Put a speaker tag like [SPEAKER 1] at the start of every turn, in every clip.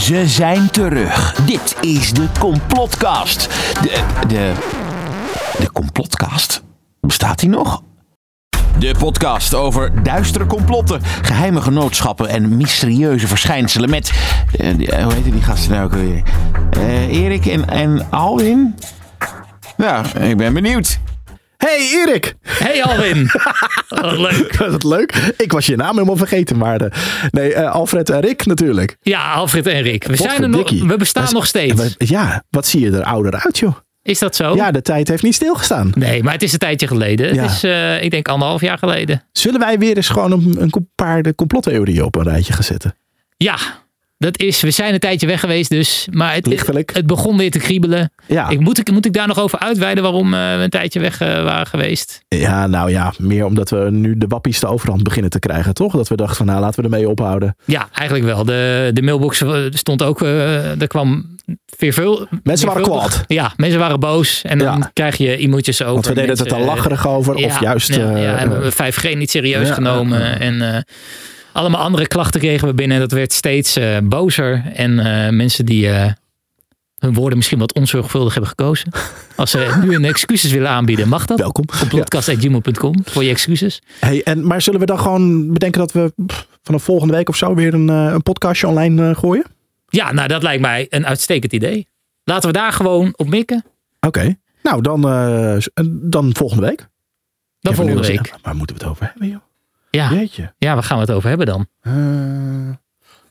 [SPEAKER 1] Ze zijn terug. Dit is de complotcast. De. De. De complotcast? Bestaat die nog? De podcast over duistere complotten, geheime genootschappen en mysterieuze verschijnselen met... eh, die- eh, hoe heet die gasten nou ook weer? Eh, Erik en, en Alwin? Ja, ik ben benieuwd.
[SPEAKER 2] Hey Erik!
[SPEAKER 3] Hey Alwin! Wat leuk.
[SPEAKER 2] Wat leuk. Ik was je naam helemaal vergeten, maar... eh, nee, eh, Alfred en Rick natuurlijk.
[SPEAKER 3] Ja, Alfred en Rick. We, zijn er nog,
[SPEAKER 2] Potverdikkie.
[SPEAKER 3] we bestaan
[SPEAKER 2] Dat is-
[SPEAKER 3] nog steeds.
[SPEAKER 2] Wat- Ja, wat zie je er ouder uit, joh.
[SPEAKER 3] Is dat zo?
[SPEAKER 2] Ja, de tijd heeft niet stilgestaan.
[SPEAKER 3] Nee, maar het is een tijdje geleden.
[SPEAKER 2] Ja.
[SPEAKER 3] Het is, eh, ik denk, anderhalf jaar geleden.
[SPEAKER 2] Zullen wij weer eens gewoon een, een paar de complottheorieën op een rijtje gaan zetten?
[SPEAKER 3] Ja, dat is. We zijn een tijdje weg geweest, dus. Maar het,
[SPEAKER 2] Lichtelijk.
[SPEAKER 3] het begon weer te kriebelen.
[SPEAKER 2] Ja.
[SPEAKER 3] Ik, moet, ik, moet ik daar nog over uitweiden waarom eh, we een tijdje weg eh, waren geweest?
[SPEAKER 2] ja, nou ja, meer omdat we nu de wappies de overhand beginnen te krijgen, toch? Dat we dachten van, nou, laten we ermee ophouden.
[SPEAKER 3] Ja, eigenlijk wel. De, de mailbox eh, stond ook. eh, er kwam weer veel.
[SPEAKER 2] Mensen waren
[SPEAKER 3] veelvuldig-
[SPEAKER 2] kwaad.
[SPEAKER 3] Ja, mensen waren boos. En dan
[SPEAKER 2] Ja.
[SPEAKER 3] krijg je emoties over.
[SPEAKER 2] Want we deden het er
[SPEAKER 3] mensen- eh,
[SPEAKER 2] dan lacherig over, of juist...
[SPEAKER 3] Ja,
[SPEAKER 2] eh,
[SPEAKER 3] ja, hebben we 5G niet serieus
[SPEAKER 2] ja,
[SPEAKER 3] genomen. En eh, allemaal andere klachten kregen we binnen. Dat werd steeds eh, bozer. En eh, mensen die eh, hun woorden misschien wat onzorgvuldig hebben gekozen. Als ze nu hun excuses willen aanbieden, mag dat?
[SPEAKER 2] welkom. Ja.
[SPEAKER 3] Podcast.gmail.com voor je excuses.
[SPEAKER 2] Hey, en, maar zullen we dan gewoon bedenken dat we pff, vanaf volgende week of zo weer een, eh, een podcastje online eh, gooien?
[SPEAKER 3] Ja, nou dat lijkt mij een uitstekend idee. Laten we daar gewoon op mikken.
[SPEAKER 2] Oké. Nou, dan, eh, s- eh, dan volgende week.
[SPEAKER 3] Dan
[SPEAKER 2] Ja, voor nu
[SPEAKER 3] volgende
[SPEAKER 2] was-
[SPEAKER 3] week. Ah.
[SPEAKER 2] ja, maar moeten we het over hebben, joh?
[SPEAKER 3] Ja,
[SPEAKER 2] Jeetje.
[SPEAKER 3] ja, waar gaan we het over hebben dan?
[SPEAKER 2] Eh,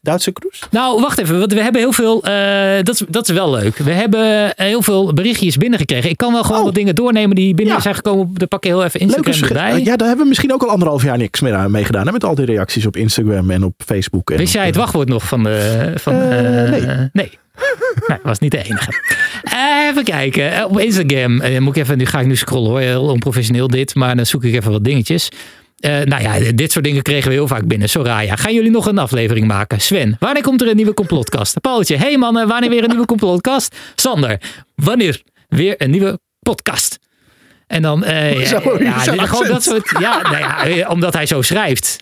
[SPEAKER 2] Duitse cruise?
[SPEAKER 3] Nou, wacht even, want we hebben heel veel. eh, dat, is- dat is wel leuk. We hebben heel veel berichtjes binnengekregen. Ik kan wel gewoon
[SPEAKER 2] Oh.
[SPEAKER 3] wat dingen doornemen die binnen
[SPEAKER 2] Ja.
[SPEAKER 3] zijn gekomen. Dan pak ik heel even
[SPEAKER 2] Leuke
[SPEAKER 3] Instagram
[SPEAKER 2] suggestie.
[SPEAKER 3] erbij.
[SPEAKER 2] Eh, Ja, daar hebben we misschien ook al anderhalf jaar niks meer aan meegedaan. hè, Met al die reacties op Instagram en op eh, Facebook. En
[SPEAKER 3] Wist jij het wachtwoord nog van de. Van,
[SPEAKER 2] Eh,
[SPEAKER 3] eh,
[SPEAKER 2] nee.
[SPEAKER 3] nee. Nee, was niet de enige. Eh, even kijken. Eh, Op Instagram. eh, moet ik even, nu ga ik nu scrollen hoor. Heel onprofessioneel dit. Maar dan zoek ik even wat dingetjes. Eh, nou ja, dit soort dingen kregen we heel vaak binnen. Soraya, gaan jullie nog een aflevering maken? Sven, wanneer komt er een nieuwe complotkast? Paultje, hey mannen, wanneer weer een nieuwe complotkast? Sander, wanneer weer een nieuwe podcast? En dan, eh,
[SPEAKER 2] Hoezo?
[SPEAKER 3] ja, ja,
[SPEAKER 2] Zo'n
[SPEAKER 3] gewoon dat
[SPEAKER 2] accent.
[SPEAKER 3] soort, ja, nou ja, eh, omdat hij zo schrijft.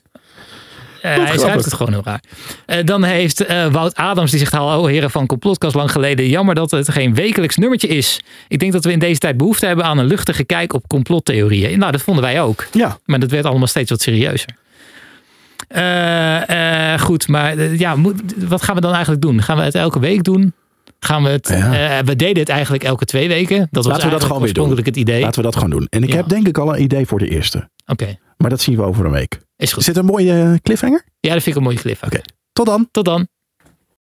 [SPEAKER 3] Eh, hij
[SPEAKER 2] grappig.
[SPEAKER 3] schrijft het gewoon heel raar. Eh, dan heeft eh, Wout Adams, die zegt... Hallo heren van Complotkast, lang geleden. Jammer dat het geen wekelijks nummertje is. Ik denk dat we in deze tijd behoefte hebben aan een luchtige kijk op complottheorieën. Nou, dat vonden wij ook.
[SPEAKER 2] Ja,
[SPEAKER 3] Maar dat werd allemaal steeds wat serieuzer. Eh, eh, goed, maar eh, ja, moet, wat gaan we dan eigenlijk doen? Gaan we het elke week doen? Gaan we het?
[SPEAKER 2] Ja.
[SPEAKER 3] eh, we deden het eigenlijk elke twee weken. Dat was
[SPEAKER 2] Laten we dat
[SPEAKER 3] eigenlijk
[SPEAKER 2] gewoon weer doen.
[SPEAKER 3] oorspronkelijk het idee.
[SPEAKER 2] laten we dat gaan doen. En ik
[SPEAKER 3] Ja.
[SPEAKER 2] heb denk ik al een idee voor de eerste.
[SPEAKER 3] Oké,
[SPEAKER 2] Maar dat zien we over een week.
[SPEAKER 3] is goed.
[SPEAKER 2] Zit er een mooie eh, cliffhanger?
[SPEAKER 3] Ja, dat vind ik een mooie cliff.
[SPEAKER 2] Tot dan.
[SPEAKER 3] Tot dan.